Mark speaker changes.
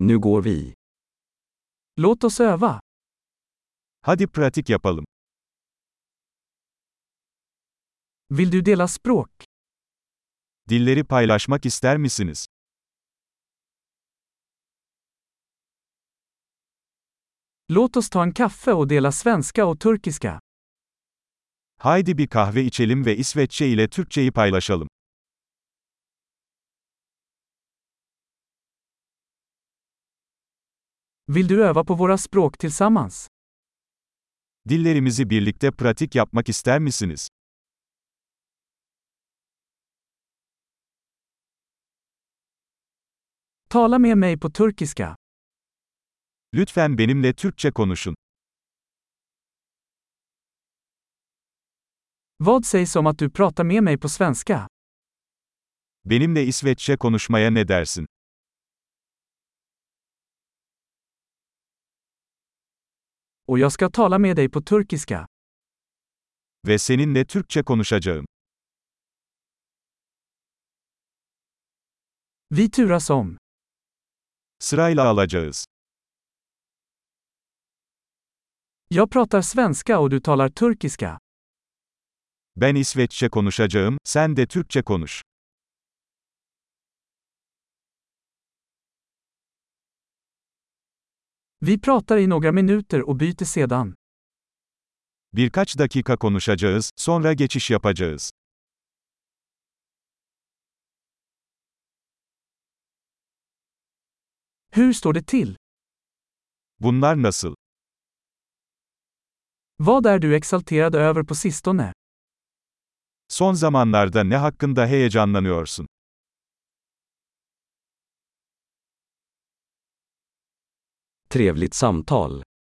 Speaker 1: Nu går vi.
Speaker 2: Låt oss öva.
Speaker 3: Hadi pratik yapalım.
Speaker 2: Vill du dela språk?
Speaker 3: Dilleri paylaşmak ister misiniz?
Speaker 2: Låt oss ta en kaffe och dela svenska och turkiska.
Speaker 3: Haydi bir kahve içelim ve İsveççe ile Türkçeyi paylaşalım.
Speaker 2: Vill du öva på våra språk tillsammans?
Speaker 3: Dillerimizi birlikte pratik yapmak ister misiniz?
Speaker 2: Tala med mig på turkiska.
Speaker 3: Lütfen benimle Türkçe konuşun.
Speaker 2: Vad sägs om att du pratar med mig på svenska?
Speaker 3: Benimle İsveççe konuşmaya ne dersin?
Speaker 2: Och jag ska tala med dig på turkiska.
Speaker 3: Ve seninle Türkçe konuşacağım.
Speaker 2: Vi turas om.
Speaker 3: Sırayla alacağız.
Speaker 2: Jag pratar svenska och du talar turkiska.
Speaker 3: Ben İsveççe konuşacağım, sen de Türkçe konuş.
Speaker 2: Vi pratar i några minuter och byter sedan.
Speaker 3: Birkaç dakika konuşacağız, sonra geçiş yapacağız.
Speaker 2: Hur står det till?
Speaker 3: Bunlar nasıl?
Speaker 2: Vad är du exalterad över på sistone?
Speaker 3: Son zamanlarda ne hakkında heyecanlanıyorsun?
Speaker 1: Trevligt samtal.